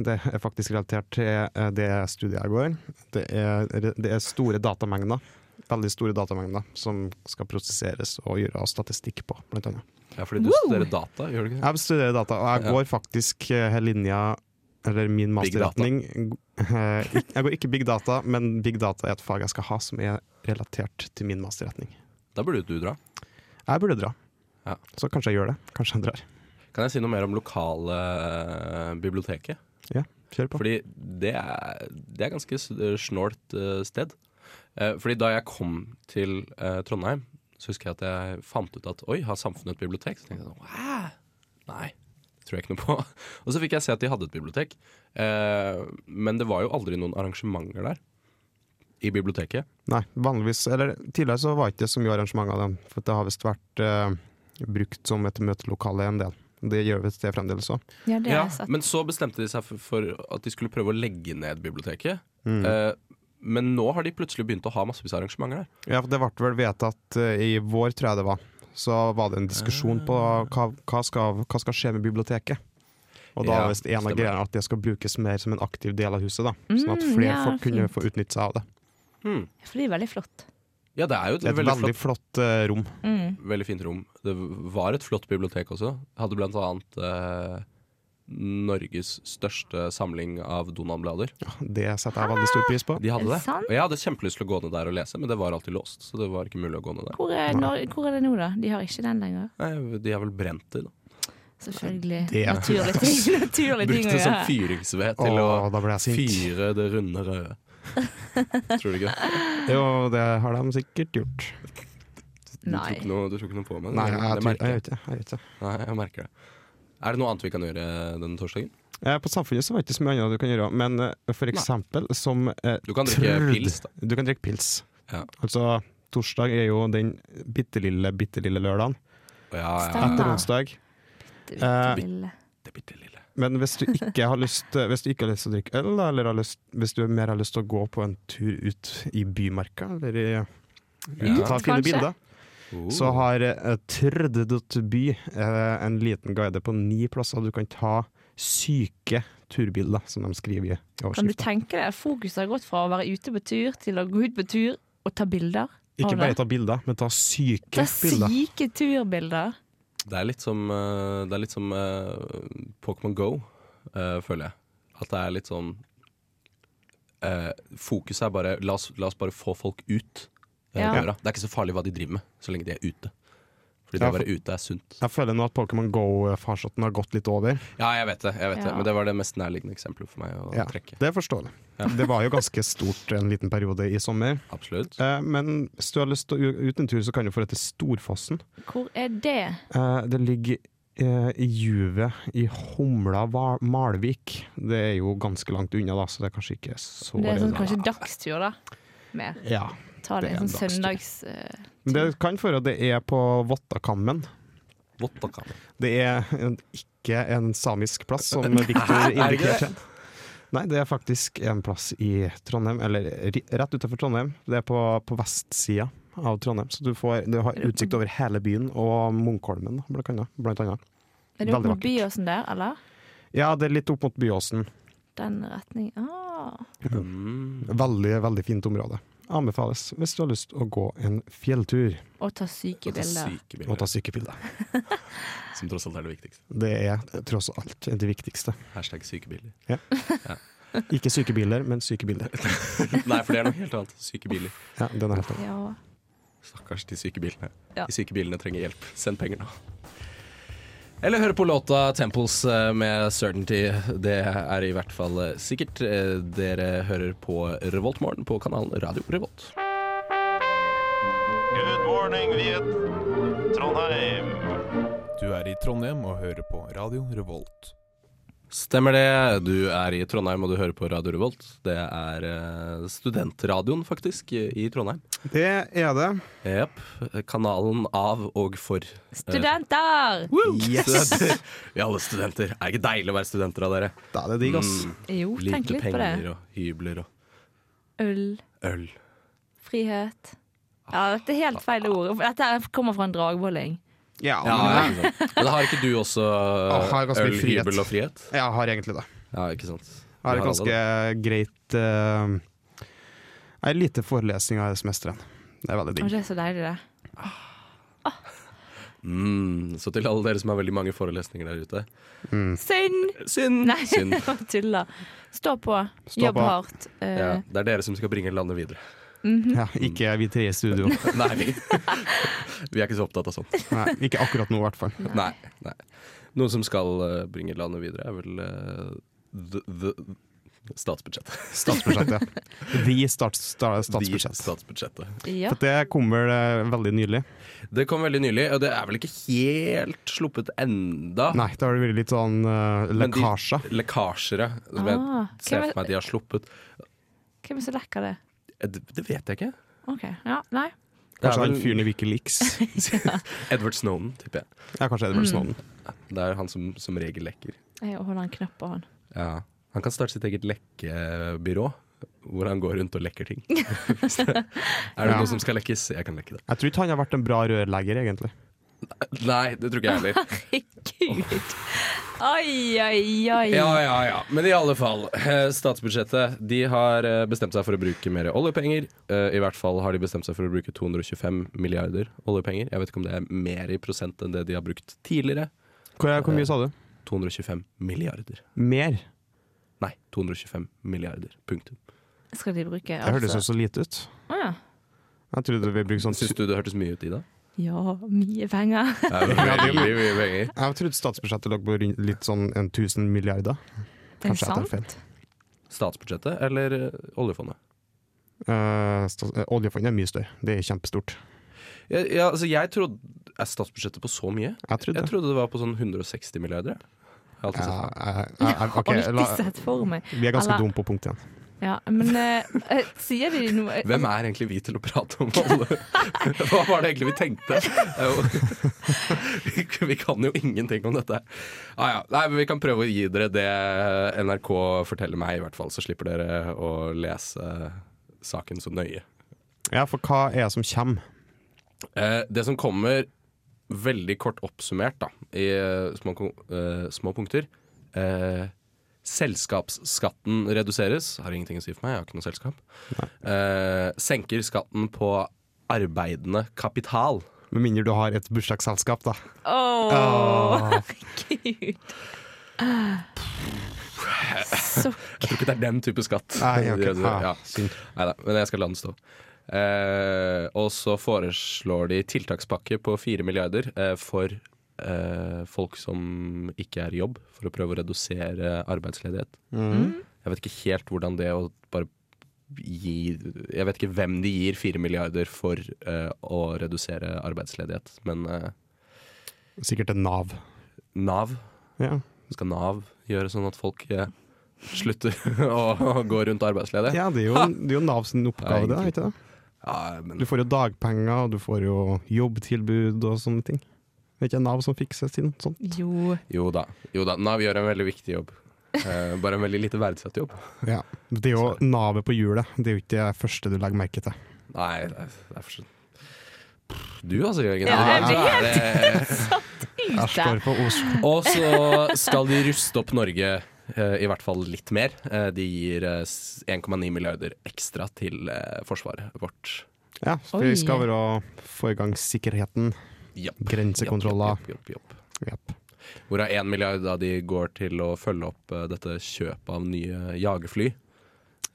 Speaker 1: det er faktisk relatert til eh, det studiet jeg går. Det er, det er store datamengder, veldig store datamengder, som skal prosesseres og gjøre statistikk på, blant annet.
Speaker 2: Ja, fordi du studerer data, gjør du ikke det?
Speaker 1: Jeg studerer data, og jeg
Speaker 2: Ja.
Speaker 1: går faktisk eh, her linja eller min masterretning. eh, ikk- Jeg går ikke big data, men big data er et fag jeg skal ha som er relatert til min masterretning.
Speaker 2: Da burde du dra.
Speaker 1: Jeg burde dra,
Speaker 2: Ja.
Speaker 1: så kanskje jeg gjør det. Kanskje jeg drar.
Speaker 2: Kan jeg si noe mer om lokale eh, biblioteket?
Speaker 1: Ja, kjør på.
Speaker 2: Fordi det er, det er ganske s- snålt eh, sted. Eh, Fordi da jeg kom til eh, Trondheim, så husker jeg at jeg fant ut at oi, har samfunnet et bibliotek? Så tenkte jeg sånn, «Hæ? nei, det tror jeg ikke noe på. Og så fikk jeg se at de hadde et bibliotek. Eh, Men det var jo aldri noen arrangementer der. I biblioteket.
Speaker 1: Nei, vanligvis, eller tidligere så var det ikke så mye arrangement av dem, for det har visst vært eh, brukt som et møtelokale en del. Det gjør visst det fremdeles òg.
Speaker 6: Ja, det
Speaker 2: Ja,
Speaker 6: har jeg sett.
Speaker 2: men så bestemte de seg for, for at de skulle prøve å legge ned biblioteket.
Speaker 1: Mm.
Speaker 2: Eh, Men nå har de plutselig begynt å ha massevis av arrangementer der.
Speaker 1: Ja, for det ble vel vedtatt eh, i vår, tror jeg det var. Så var det en diskusjon på
Speaker 2: Eh.
Speaker 1: hva, hva, skal, hva skal skje med biblioteket. Og da
Speaker 2: Ja,
Speaker 1: var visst en av
Speaker 2: stemmer.
Speaker 1: greiene at det skal brukes mer som en aktiv del av huset. da Sånn at
Speaker 6: Mm,
Speaker 1: flere
Speaker 6: ja,
Speaker 1: folk kunne
Speaker 6: fint.
Speaker 1: få utnytte seg av det.
Speaker 6: For det er veldig flott. Mm.
Speaker 2: Ja, det er jo Hmm. et,
Speaker 1: Det er et
Speaker 2: veldig, flott
Speaker 1: veldig flott, eh, rom.
Speaker 2: veldig fint rom. Det var et flott bibliotek også. Hadde blant annet eh, Norges største samling av Donald-blader.
Speaker 1: Det setter jeg veldig stor
Speaker 6: Ah.
Speaker 1: pris på.
Speaker 2: De hadde
Speaker 6: Er det
Speaker 2: det.
Speaker 6: sant?
Speaker 2: Og jeg hadde kjempelyst til å gå ned der og lese, men det var alltid låst. Så det var ikke mulig å gå ned der.
Speaker 6: Hvor er, Nor- hvor er det nå, da? De har ikke den lenger.
Speaker 2: Nei, de har vel brent det, da.
Speaker 6: Selvfølgelig.
Speaker 1: Det er-
Speaker 6: Naturlig ting, naturlig
Speaker 2: Brukt
Speaker 6: ting å
Speaker 2: det som
Speaker 6: gjøre.
Speaker 2: fyringsved til
Speaker 1: Å, da ble jeg
Speaker 2: å
Speaker 1: sint.
Speaker 2: fyre det runde røde. Tror du ikke det?
Speaker 1: Jo, det har de sikkert gjort.
Speaker 2: Du tror
Speaker 6: Nei.
Speaker 2: ikke noe, du tror ikke noe på meg?
Speaker 1: Nei, jeg,
Speaker 2: det
Speaker 1: tror- jeg,
Speaker 2: merker jeg.
Speaker 1: vet ikke, jeg vet ikke.
Speaker 2: Nei, jeg merker det. Er det noe annet vi kan gjøre denne torsdagen?
Speaker 1: Eh, På Samfunnet så var det ikke så mye annet du kan gjøre, men eh, for eksempel som eh,
Speaker 2: Du kan drikke
Speaker 1: trødd-
Speaker 2: pils, da.
Speaker 1: Du kan drikke pils.
Speaker 2: Ja.
Speaker 1: Altså, torsdag er jo den bitte lille, bitte lille lørdagen
Speaker 2: Ja, ja,
Speaker 6: Stemmer.
Speaker 2: ja.
Speaker 1: etter onsdag.
Speaker 6: Det
Speaker 1: Eh,
Speaker 6: er lille.
Speaker 2: Det bitte lille.
Speaker 1: Men hvis du ikke har lyst eh, Hvis du ikke har lyst til å drikke øl, da, eller har lyst, hvis du mer har lyst til å gå på en tur ut i bymarka, eller i, ut og ta
Speaker 6: Ut,
Speaker 1: fine
Speaker 6: kanskje?
Speaker 1: bilder, så har eh, Trødd.by eh, en liten guide på ni plasser du kan ta syke turbilder, som de skriver i
Speaker 6: Kan du
Speaker 1: overskriften.
Speaker 6: tenke deg, Fokuset har gått fra å være ute på tur til å gå ut på tur og ta bilder.
Speaker 1: Ikke
Speaker 6: av
Speaker 1: bare
Speaker 6: det.
Speaker 1: ta bilder, men ta syke
Speaker 6: Ta
Speaker 1: bilder.
Speaker 6: syke turbilder.
Speaker 2: Det er litt som, eh, det er litt som eh, Pokémon Go, eh, føler jeg. At det er litt sånn eh, Fokuset er bare la oss, la oss bare få folk ut. eh,
Speaker 6: Ja.
Speaker 2: døra. Det er ikke så farlig hva de driver med, så lenge de er ute. Fordi det
Speaker 1: Ja,
Speaker 2: å
Speaker 1: for-
Speaker 2: være ute er sunt.
Speaker 1: Jeg føler nå at Pokémon Go-farsotten har gått litt over.
Speaker 2: Ja, jeg vet det, jeg vet
Speaker 6: Ja.
Speaker 2: det. men det var det mest nærliggende eksempelet for meg å
Speaker 1: Ja,
Speaker 2: trekke.
Speaker 1: det forstår jeg.
Speaker 2: Ja.
Speaker 1: Det var jo ganske stort en liten periode i sommer.
Speaker 2: Absolutt.
Speaker 1: Eh, men hvis du har lyst til å u- ut en tur, så kan du få det til Storfossen.
Speaker 6: Hvor er det?
Speaker 1: Eh, det ligger eh, i Juvet i Humla Va- Malvik. Det er jo ganske langt unna, da, så det er kanskje ikke så
Speaker 6: Det er sånn,
Speaker 1: redelig.
Speaker 6: kanskje dagstur, da. Mer.
Speaker 1: Ja.
Speaker 6: Ta det,
Speaker 1: Det er
Speaker 6: en
Speaker 1: en
Speaker 6: sånn
Speaker 1: dagstur.
Speaker 6: søndags... eh,
Speaker 1: Men det kan føre at det er på Vottakammen.
Speaker 2: Vottakammen.
Speaker 1: Det er en, ikke en samisk plass, som Viktor
Speaker 2: Er det ikke
Speaker 1: indikerte. Nei, det er faktisk en plass i Trondheim, eller ri- rett utenfor Trondheim. Det er på, på vestsida av Trondheim, så du, får, du har utsikt over hele byen og Munkholmen, blant annet. Blant annet.
Speaker 6: er det opp
Speaker 1: Veldig
Speaker 6: mot Byåsen der, eller?
Speaker 1: Ja, det er litt opp mot Byåsen.
Speaker 6: Den retningen. Ah.
Speaker 2: Mm.
Speaker 1: Veldig, veldig fint område. Anbefales hvis du har lyst å gå en fjelltur
Speaker 6: Og ta syke
Speaker 2: Og ta
Speaker 6: bilder.
Speaker 2: syke
Speaker 1: og
Speaker 2: bilder,
Speaker 1: ta sykebilder.
Speaker 2: som tross alt er det viktigste.
Speaker 1: Det er tross alt det viktigste.
Speaker 2: Hashtag sykebiler.
Speaker 1: Ikke sykebiler, men sykebilder.
Speaker 2: Nei, for det er noe helt annet. Sykebiler.
Speaker 1: Ja, den er helt annen.
Speaker 6: Ja.
Speaker 2: Stakkars de syke bilene.
Speaker 6: Ja.
Speaker 2: De syke bilene trenger hjelp. Send penger nå. Eller hør på låta 'Temples' eh, med 'Certainty'. Det er i hvert fall eh, sikkert. Eh, Dere hører på Revoltmorgen på kanalen Radio Revolt.
Speaker 8: Good morning, Viet. Trondheim.
Speaker 9: Du er i Trondheim og hører på Radio Revolt.
Speaker 2: Stemmer det. Du er i Trondheim og du hører på Radio Revolt. Det er eh, studentradioen, faktisk, i i Trondheim.
Speaker 1: Det er det.
Speaker 2: Jepp. Kanalen av og for
Speaker 6: Studenter!
Speaker 2: studenter. Vi er alle studenter. Er det ikke deilig å være studenter av dere?
Speaker 1: Da er det digg, ass.
Speaker 2: Mm.
Speaker 6: Jo, tenk
Speaker 2: Lite
Speaker 6: litt på det.
Speaker 2: penger og hybler og
Speaker 6: Øl.
Speaker 2: øl.
Speaker 6: Frihet. Ja, dette er helt feil ord. Dette kommer fra en dragbolling.
Speaker 1: Ja,
Speaker 2: Ja,
Speaker 1: men- eh,
Speaker 2: ja. Men har ikke du også
Speaker 1: Jeg har ganske mye
Speaker 2: øl,
Speaker 1: frihet.
Speaker 2: hybel og frihet?
Speaker 1: Jeg har egentlig det.
Speaker 2: Ja, ikke sant.
Speaker 1: Jeg har
Speaker 2: Vi
Speaker 1: et
Speaker 2: alle
Speaker 1: ganske
Speaker 2: det.
Speaker 1: greit eh, Jeg har lite forelesning av semesteren. Det er veldig
Speaker 6: Og
Speaker 1: digg.
Speaker 6: det er så deilig, det.
Speaker 2: mm, Så til alle dere som har veldig mange forelesninger der ute.
Speaker 6: Synd!
Speaker 2: Synd!
Speaker 6: Nei,
Speaker 2: Synd.
Speaker 6: jeg bare tuller. Stå på.
Speaker 1: Stå
Speaker 6: Jobb
Speaker 1: på.
Speaker 6: hardt. Eh,
Speaker 2: Ja, det er dere som skal bringe landet videre.
Speaker 1: Ja, ikke vi tre i studio.
Speaker 2: Nei, vi, vi er ikke så opptatt av sånt.
Speaker 1: Nei, ikke akkurat nå, i hvert fall.
Speaker 2: Nei. nei. Noen som skal eh, bringe landet videre, er vel eh, the, the statsbudsjettet.
Speaker 1: Statsbudsjettet. Vi stats, sta, statsbudsjett.
Speaker 2: De statsbudsjettet.
Speaker 6: ja.
Speaker 1: For det kom vel eh, veldig nylig.
Speaker 2: Det kom veldig nylig, og det er vel ikke helt sluppet enda.
Speaker 1: Nei, det har vært litt sånn uh,
Speaker 2: Ah. Men de-
Speaker 1: lekkasje.
Speaker 2: Lekkasjer, ja. Som
Speaker 6: Ah,
Speaker 2: jeg ser
Speaker 6: hvem
Speaker 2: for
Speaker 6: er-
Speaker 2: meg at de har sluppet.
Speaker 6: Hvem er så lekker det?
Speaker 2: Det, det vet jeg ikke.
Speaker 6: OK. Ja, nei.
Speaker 2: Det er
Speaker 1: Kanskje han
Speaker 2: vel-
Speaker 1: fyren i Wikileaks.
Speaker 2: Edward Snowden, tipper jeg.
Speaker 1: Ja, kanskje Edvard Snowden.
Speaker 2: Det er han som som regel lekker.
Speaker 6: Jeg holder en knapp på han.
Speaker 2: Ja. Han kan starte sitt eget lekkebyrå, hvor han går rundt og lekker ting. er det
Speaker 1: Ja.
Speaker 2: noe som skal lekkes? Jeg kan lekke det.
Speaker 1: Jeg tror ikke han har vært en bra rørlegger, egentlig.
Speaker 2: Nei, det tror ikke jeg heller.
Speaker 6: Herregud! Oi, oi, oi.
Speaker 2: Ja, ja, ja. Men i alle fall. eh, Statsbudsjettet. De har eh, bestemt seg for å bruke mer oljepenger. Eh, I hvert fall har de bestemt seg for å bruke 225 milliarder oljepenger. Jeg vet ikke om det er mer i prosent enn det de har brukt tidligere.
Speaker 1: Hvor, hvor mye sa du?
Speaker 2: 225 milliarder.
Speaker 1: Mer?
Speaker 2: Nei, 225 milliarder. Punktum.
Speaker 6: Skal de bruke
Speaker 1: Det hørtes
Speaker 6: altså-
Speaker 1: jo så lite ut.
Speaker 6: Å, ja.
Speaker 1: Jeg trodde vi brukte sånn
Speaker 2: Syns du det hørtes mye ut, Ida?
Speaker 6: ja, mye penger.
Speaker 2: Ja, det er veldig mye penger.
Speaker 1: Jeg trodde statsbudsjettet lå på rundt- litt sånn en tusen milliarder.
Speaker 6: Er det
Speaker 1: Kanskje jeg tar feil.
Speaker 6: sant?
Speaker 2: Statsbudsjettet eller eh, oljefondet?
Speaker 1: Eh, stats- eh, oljefondet er mye større. Det er kjempestort.
Speaker 2: Ja, ja, altså jeg trodde, Er statsbudsjettet på så mye?
Speaker 1: Jeg trodde
Speaker 2: Jeg
Speaker 1: det.
Speaker 2: trodde det var på sånn 160 milliarder. Jeg har alltid sett
Speaker 1: Ja,
Speaker 2: det.
Speaker 1: jeg- jeg- jeg- ok,
Speaker 6: Alltid
Speaker 1: la,
Speaker 6: sett for meg.
Speaker 1: vi er ganske
Speaker 6: Eller-
Speaker 1: dumme på punkt igjen.
Speaker 6: Ja, men eh, eh, sier de noe
Speaker 2: Hvem er egentlig vi til å prate om olje? Hva var det egentlig vi tenkte? Det er jo- Vi- Vi kan jo ingenting om dette. Ah, ja. Nei, men vi kan prøve å gi dere det NRK forteller meg, i hvert fall. Så slipper dere å lese saken så nøye.
Speaker 1: Ja, for hva er det som kommer?
Speaker 2: Eh, det som kommer veldig kort oppsummert da, i eh, små, ko- eh, små punkter eh, Selskapsskatten reduseres. Har ingenting å si for meg, jeg har ikke noe selskap. Eh, senker skatten på arbeidende kapital.
Speaker 1: Med mindre du har et bursdagsselskap, da.
Speaker 6: Åh,
Speaker 1: Åh.
Speaker 6: herregud. Så
Speaker 2: Jeg tror ikke det er den type skatt.
Speaker 1: Nei, jeg har ikke-
Speaker 2: ja.
Speaker 1: ah, synd.
Speaker 2: Neida, men jeg skal la den stå. Eh, og så foreslår de tiltakspakke på fire milliarder eh, for eh, folk som ikke er i jobb, for å prøve å redusere arbeidsledighet.
Speaker 1: Mm.
Speaker 2: Jeg vet ikke helt hvordan det å bare gi Jeg vet ikke hvem de gir fire milliarder for eh, å redusere arbeidsledighet, men eh,
Speaker 1: Sikkert en Nav.
Speaker 2: Nav
Speaker 1: Ja.
Speaker 2: Skal Nav gjøre sånn at folk eh, slutter å, å gå rundt arbeidsledig?
Speaker 1: ja, det er jo, det er jo Nav sin
Speaker 2: Ja,
Speaker 1: oppgave, det. er
Speaker 2: egentlig.
Speaker 1: Ikke det?
Speaker 2: Ja, men
Speaker 1: Du får jo dagpenger, og du får jo jobbtilbud og sånne ting. Det er ikke Nav som fikser sin sånn.
Speaker 6: Jo.
Speaker 2: Jo da. jo da, Nav gjør en veldig viktig jobb. Eh, bare en veldig lite verdsatt jobb.
Speaker 1: Ja. Det er jo navet på hjulet. Det er jo ikke det første du legger merke til.
Speaker 2: Nei, det er, det er for sånn Du altså, Jørgen.
Speaker 6: Ja,
Speaker 2: du er- du er det.
Speaker 1: Eh. Jeg
Speaker 6: Ute.
Speaker 1: står for Oslo.
Speaker 2: Og så skal de ruste opp Norge, eh, i hvert fall litt mer. Eh, de gir eh, s- 1,9 milliarder ekstra til eh, forsvaret vårt.
Speaker 1: Ja, for
Speaker 6: Oi.
Speaker 1: vi skal være foregangssikkerheten.
Speaker 2: Japp.
Speaker 1: Grensekontroller.
Speaker 2: Japp, japp, japp, japp.
Speaker 1: Japp.
Speaker 2: Hvorav 1 milliard da de går til å følge opp eh, dette kjøpet av nye jagerfly.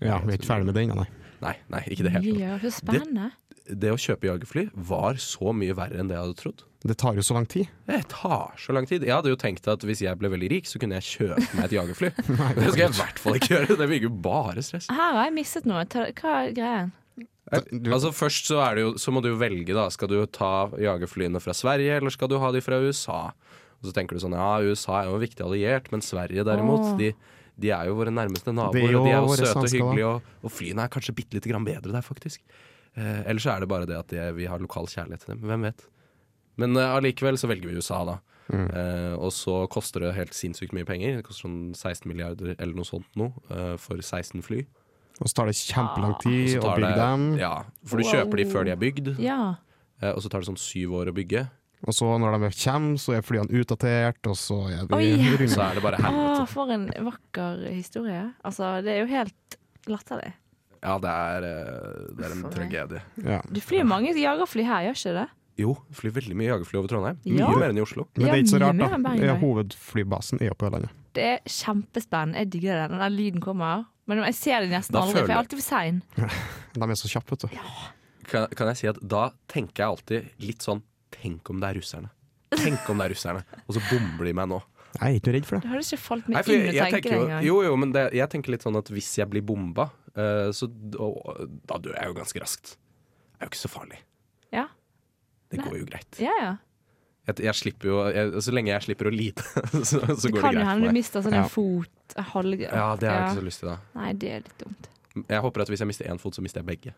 Speaker 1: Ja, vi er ikke ferdig med det ennå, nei.
Speaker 2: Nei, nei, ikke det helt.
Speaker 6: Miljø, så spennende.
Speaker 2: Det å kjøpe jagerfly var så mye verre enn det jeg hadde trodd.
Speaker 1: Det tar jo så lang tid.
Speaker 2: Det tar så lang tid. Jeg hadde jo tenkt at hvis jeg ble veldig rik, så kunne jeg kjøpe meg et jagerfly. Det skal jeg i hvert fall ikke gjøre. Det virker jo bare stress.
Speaker 6: Her har jeg mistet noe. Ta- Hva er greien?
Speaker 2: Altså Først så, er det jo, så må du jo velge, da. Skal du ta jagerflyene fra Sverige, eller skal du ha de fra USA? Og så tenker du sånn ja, USA er jo en viktig alliert, men Sverige derimot,
Speaker 6: Åh.
Speaker 2: de, de er jo våre nærmeste
Speaker 1: Det er
Speaker 2: naboer.
Speaker 1: jo
Speaker 2: Og de er jo
Speaker 1: våre
Speaker 2: søte og
Speaker 1: svensker, da.
Speaker 2: hyggelige, og, og flyene er kanskje bitte lite grann bedre der, faktisk. Eh, eller så er det bare det at de, vi har lokal kjærlighet til dem. Hvem vet. Men eh, allikevel så velger vi USA, da.
Speaker 1: Mm.
Speaker 2: Eh, og så koster det helt sinnssykt mye penger. Det koster sånn 16 milliarder eller noe sånt nå, eh, for 16 fly.
Speaker 1: Og så tar det
Speaker 2: Ah,
Speaker 1: kjempelang
Speaker 2: Og
Speaker 1: tid
Speaker 2: så
Speaker 1: å
Speaker 2: tar
Speaker 1: bygge
Speaker 2: det-
Speaker 1: dem.
Speaker 2: Ja, for du
Speaker 6: Wow.
Speaker 2: kjøper de før de er bygd.
Speaker 6: Ja.
Speaker 2: Eh, Og så tar det sånn syv år å bygge.
Speaker 1: Og så når de kommer, så er flyene utdatert, og så er vi
Speaker 6: Oi.
Speaker 2: Så
Speaker 1: runde.
Speaker 2: er det bare
Speaker 6: Å,
Speaker 2: helvete.
Speaker 6: for en vakker historie. Altså, det er jo helt latterlig.
Speaker 2: Ja, det er, eh, det er en tragedie.
Speaker 1: Ja.
Speaker 6: Du flyr mange jagerfly her, gjør ikke det?
Speaker 2: Jo, det flyr veldig mye jagerfly over Trondheim.
Speaker 6: Ja.
Speaker 2: Mye mer enn i Oslo.
Speaker 1: Men
Speaker 6: Ja,
Speaker 1: det er ikke så
Speaker 6: mye
Speaker 1: rart,
Speaker 6: mer enn
Speaker 1: da.
Speaker 6: Bergen,
Speaker 1: Ja,
Speaker 6: nei.
Speaker 1: hovedflybasen er jo på Ørlandet.
Speaker 6: Det er kjempespennende. Jeg digger den. Den der lyden kommer. Men jeg ser det nesten
Speaker 2: Da
Speaker 6: aldri, for jeg
Speaker 2: føler-
Speaker 6: er alltid for sein.
Speaker 1: De er så kjappe, vet du.
Speaker 2: Kan, kan jeg si at da tenker jeg alltid litt sånn Tenk om det er russerne. Tenk om det er russerne. Og så bomber de meg nå.
Speaker 1: Jeg er ikke noe redd for det.
Speaker 6: Det hadde ikke falt
Speaker 2: Nei,
Speaker 6: meg
Speaker 2: for
Speaker 6: inn
Speaker 2: jeg,
Speaker 6: å
Speaker 2: jeg
Speaker 6: tenke
Speaker 2: tenker
Speaker 6: det
Speaker 2: jo,
Speaker 6: engang.
Speaker 2: jo, jo, men det, jeg tenker litt sånn at hvis jeg blir bomba, eh, så og, da dør jeg jo ganske raskt. Det er jo ikke så farlig.
Speaker 6: Ja.
Speaker 2: Det
Speaker 6: Nei.
Speaker 2: går jo greit.
Speaker 6: Ja, ja.
Speaker 2: Jeg, jeg slipper jo, jeg, så lenge jeg slipper å lide, så, så
Speaker 6: Det
Speaker 2: går det
Speaker 6: kan
Speaker 2: greit
Speaker 6: jo
Speaker 2: for
Speaker 6: hende du
Speaker 2: meg.
Speaker 6: mister sånn
Speaker 1: Ja.
Speaker 6: en fot. en Halv...
Speaker 2: Ja, det har jeg ikke så lyst til da.
Speaker 6: Nei, det er litt dumt.
Speaker 2: Jeg håper at hvis jeg mister én fot, så mister jeg begge.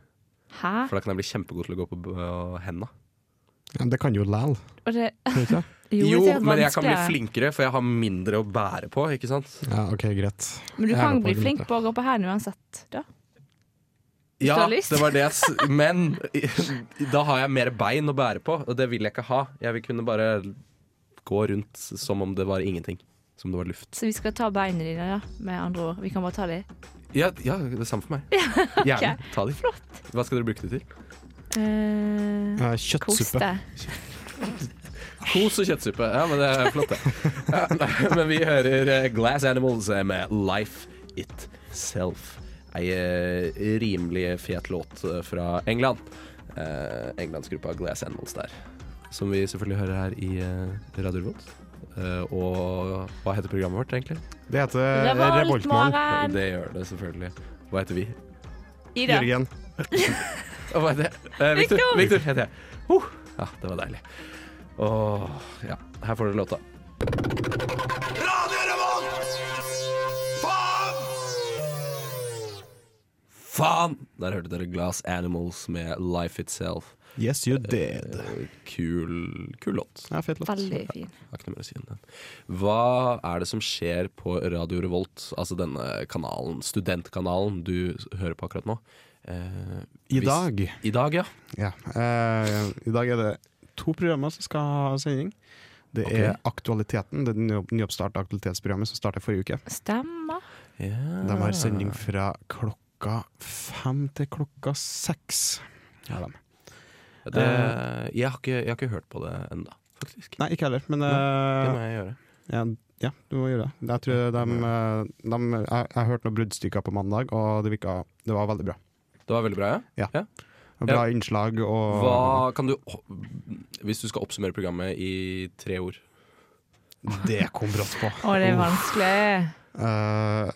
Speaker 6: Hæ?
Speaker 2: For da kan jeg bli kjempegod til å gå på b- henda.
Speaker 1: Ja, men det kan jo læl.
Speaker 6: Og det
Speaker 1: kan det ikke det?
Speaker 6: Jo,
Speaker 2: Jo,
Speaker 6: det er
Speaker 2: men jeg kan bli
Speaker 6: vanskeligere.
Speaker 2: flinkere, for jeg har mindre å bære på. ikke sant?
Speaker 1: Ja, OK, greit.
Speaker 6: Men du
Speaker 1: Jeg
Speaker 6: kan
Speaker 1: håper
Speaker 6: bli
Speaker 1: det
Speaker 6: flink
Speaker 1: ikke.
Speaker 6: på å gå på hælen uansett, da.
Speaker 2: Ja,
Speaker 6: har lyst.
Speaker 2: det var det jeg s Men da har jeg mer bein å bære på, og det vil jeg ikke ha. Jeg vil kunne bare gå rundt som om det var ingenting. Som det var luft.
Speaker 6: Så vi skal ta beina dine, da, med andre ord. Vi kan bare ta de.
Speaker 2: Ja, ja det er samme for meg. Gjerne. Ta de. Hva skal dere bruke det til?
Speaker 6: Eh,
Speaker 1: Eh, Kjøttsuppe.
Speaker 6: koste.
Speaker 2: Kos og kjøttsuppe. Ja, men det er flott, det. Ja, men vi hører eh, Glass Animals eh, med Life Itself. Ei eh, rimelig fet låt eh, fra England. Eh, Englandsgruppa Glass Animals der. Som vi selvfølgelig hører her i eh, Radio Revolt. Eh, og hva heter programmet vårt, egentlig?
Speaker 1: Det heter Revoltmorgen.
Speaker 6: Revoltmorgen!
Speaker 2: Det gjør det selvfølgelig. Hva heter vi?
Speaker 6: Ida.
Speaker 1: Jørgen.
Speaker 2: Å, hva heter jeg? Eh, Victor.
Speaker 6: Victor.
Speaker 2: Victor heter jeg. Huh. ja, det var deilig. Åh, ja. Her får dere låta. Faen! Der hørte dere Glass Animals med Life Itself.
Speaker 1: Yes, you did.
Speaker 2: Eh, Kul, kul låt.
Speaker 1: Ja, fet låt.
Speaker 6: Veldig fin.
Speaker 2: Har ikke noe mer å si om den. Hva er det som skjer på Radio Revolt, altså denne kanalen, studentkanalen du hører på akkurat nå? Eh,
Speaker 1: I
Speaker 2: hvis-
Speaker 1: dag
Speaker 2: I dag, ja.
Speaker 1: Ja. eh, I dag er det to programmer som skal ha sending. Det er Aktualiteten, det nyopp- nyoppstarta aktualitetsprogrammet som startet forrige uke.
Speaker 6: Stemmer.
Speaker 2: Ja.
Speaker 1: De har
Speaker 2: Ah.
Speaker 1: sending fra klokka fem til klokka seks. Ja, de.
Speaker 2: Det, jeg, har ikke, jeg har ikke hørt på det ennå, faktisk.
Speaker 1: Nei, ikke heller, men
Speaker 2: Det må
Speaker 1: eh,
Speaker 2: jeg gjøre.
Speaker 1: ja, ja, du må gjøre det. Jeg tror de, eh, de Jeg, jeg hørte noen bruddstykker på mandag, og det virka Det var veldig bra.
Speaker 2: Det var veldig bra, ja.
Speaker 1: Bra innslag og
Speaker 2: Hva kan du Hvis du skal oppsummere programmet i tre ord
Speaker 1: Det kom brått på.
Speaker 6: Å, det er vanskelig.
Speaker 1: Eh,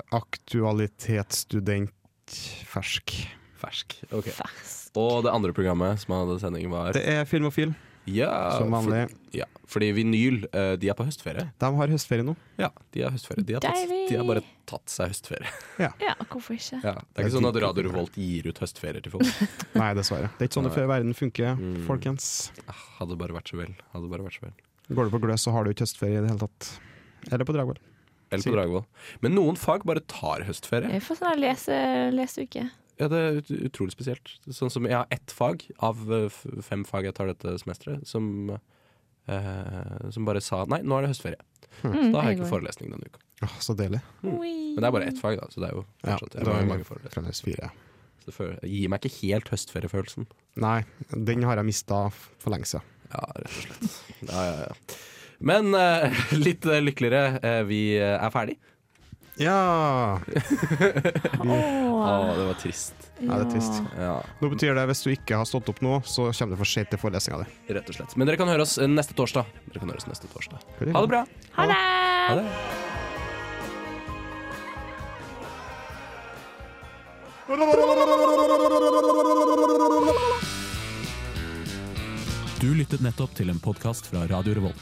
Speaker 1: aktualitetsstudent fersk.
Speaker 2: Fersk. ok
Speaker 6: Fersk.
Speaker 2: Og det andre programmet som hadde sending, var
Speaker 1: Det er Filmofil,
Speaker 2: Ja,
Speaker 1: som vanlig.
Speaker 2: For, ja, fordi vinyl, eh, de er på høstferie.
Speaker 1: De har høstferie nå.
Speaker 2: Ja, de har høstferie. De har, tatt,
Speaker 6: Deilig.
Speaker 2: de har bare tatt seg høstferie.
Speaker 6: Ja, hvorfor ikke?
Speaker 2: Ja, det er ikke sånn at Radio Revolt gir ut høstferier til folk.
Speaker 1: Nei, dessverre. Det er ikke sånn det før verden funker,
Speaker 2: Mm.
Speaker 1: folkens.
Speaker 2: Ah, Hadde bare vært så vel. Hadde bare vært så vel.
Speaker 1: Går du på gløs, så har du ikke høstferie i det hele tatt. Eller på Dragvoll.
Speaker 2: Eller på
Speaker 1: Sikkert.
Speaker 2: Dragvoll. Men noen fag bare tar høstferie.
Speaker 6: Jeg får sånn lese, leseuke.
Speaker 2: Ja, det er ut utrolig spesielt. Sånn som Jeg har ett fag av eh, f- fem fag jeg tar dette semesteret, som, eh, som bare sa nei, nå er det høstferie.
Speaker 6: Mm,
Speaker 2: Så da har jeg ikke forelesning denne uka.
Speaker 1: Åh, så deilig.
Speaker 2: Men det er bare ett fag, da, så det er jo
Speaker 1: Ja,
Speaker 2: Ah, fortsatt
Speaker 1: det
Speaker 2: jeg
Speaker 1: var
Speaker 2: har
Speaker 1: jo
Speaker 2: mange forelesninger.
Speaker 1: fremdeles fire.
Speaker 2: Så det føler- det gir meg ikke helt høstferiefølelsen.
Speaker 1: Nei, den har jeg mista for lenge siden.
Speaker 2: Ja, rett og slett. Ja, ja, ja. Men eh, litt eh, lykkeligere. Eh, vi eh, er ferdig.
Speaker 1: Ja!
Speaker 2: Å,
Speaker 6: Åh,
Speaker 2: det var trist.
Speaker 1: ja! Det er trist.
Speaker 2: Ja,
Speaker 1: Nå betyr det hvis du ikke har stått opp nå, så kommer du for sent til forelesninga di.
Speaker 2: rett og slett. Men dere kan høre oss eh, neste torsdag. Dere kan høre oss neste torsdag. Ha det bra.
Speaker 6: Ha det!
Speaker 2: Ha det.
Speaker 10: Du lyttet nettopp til en podkast fra Radio Revolt.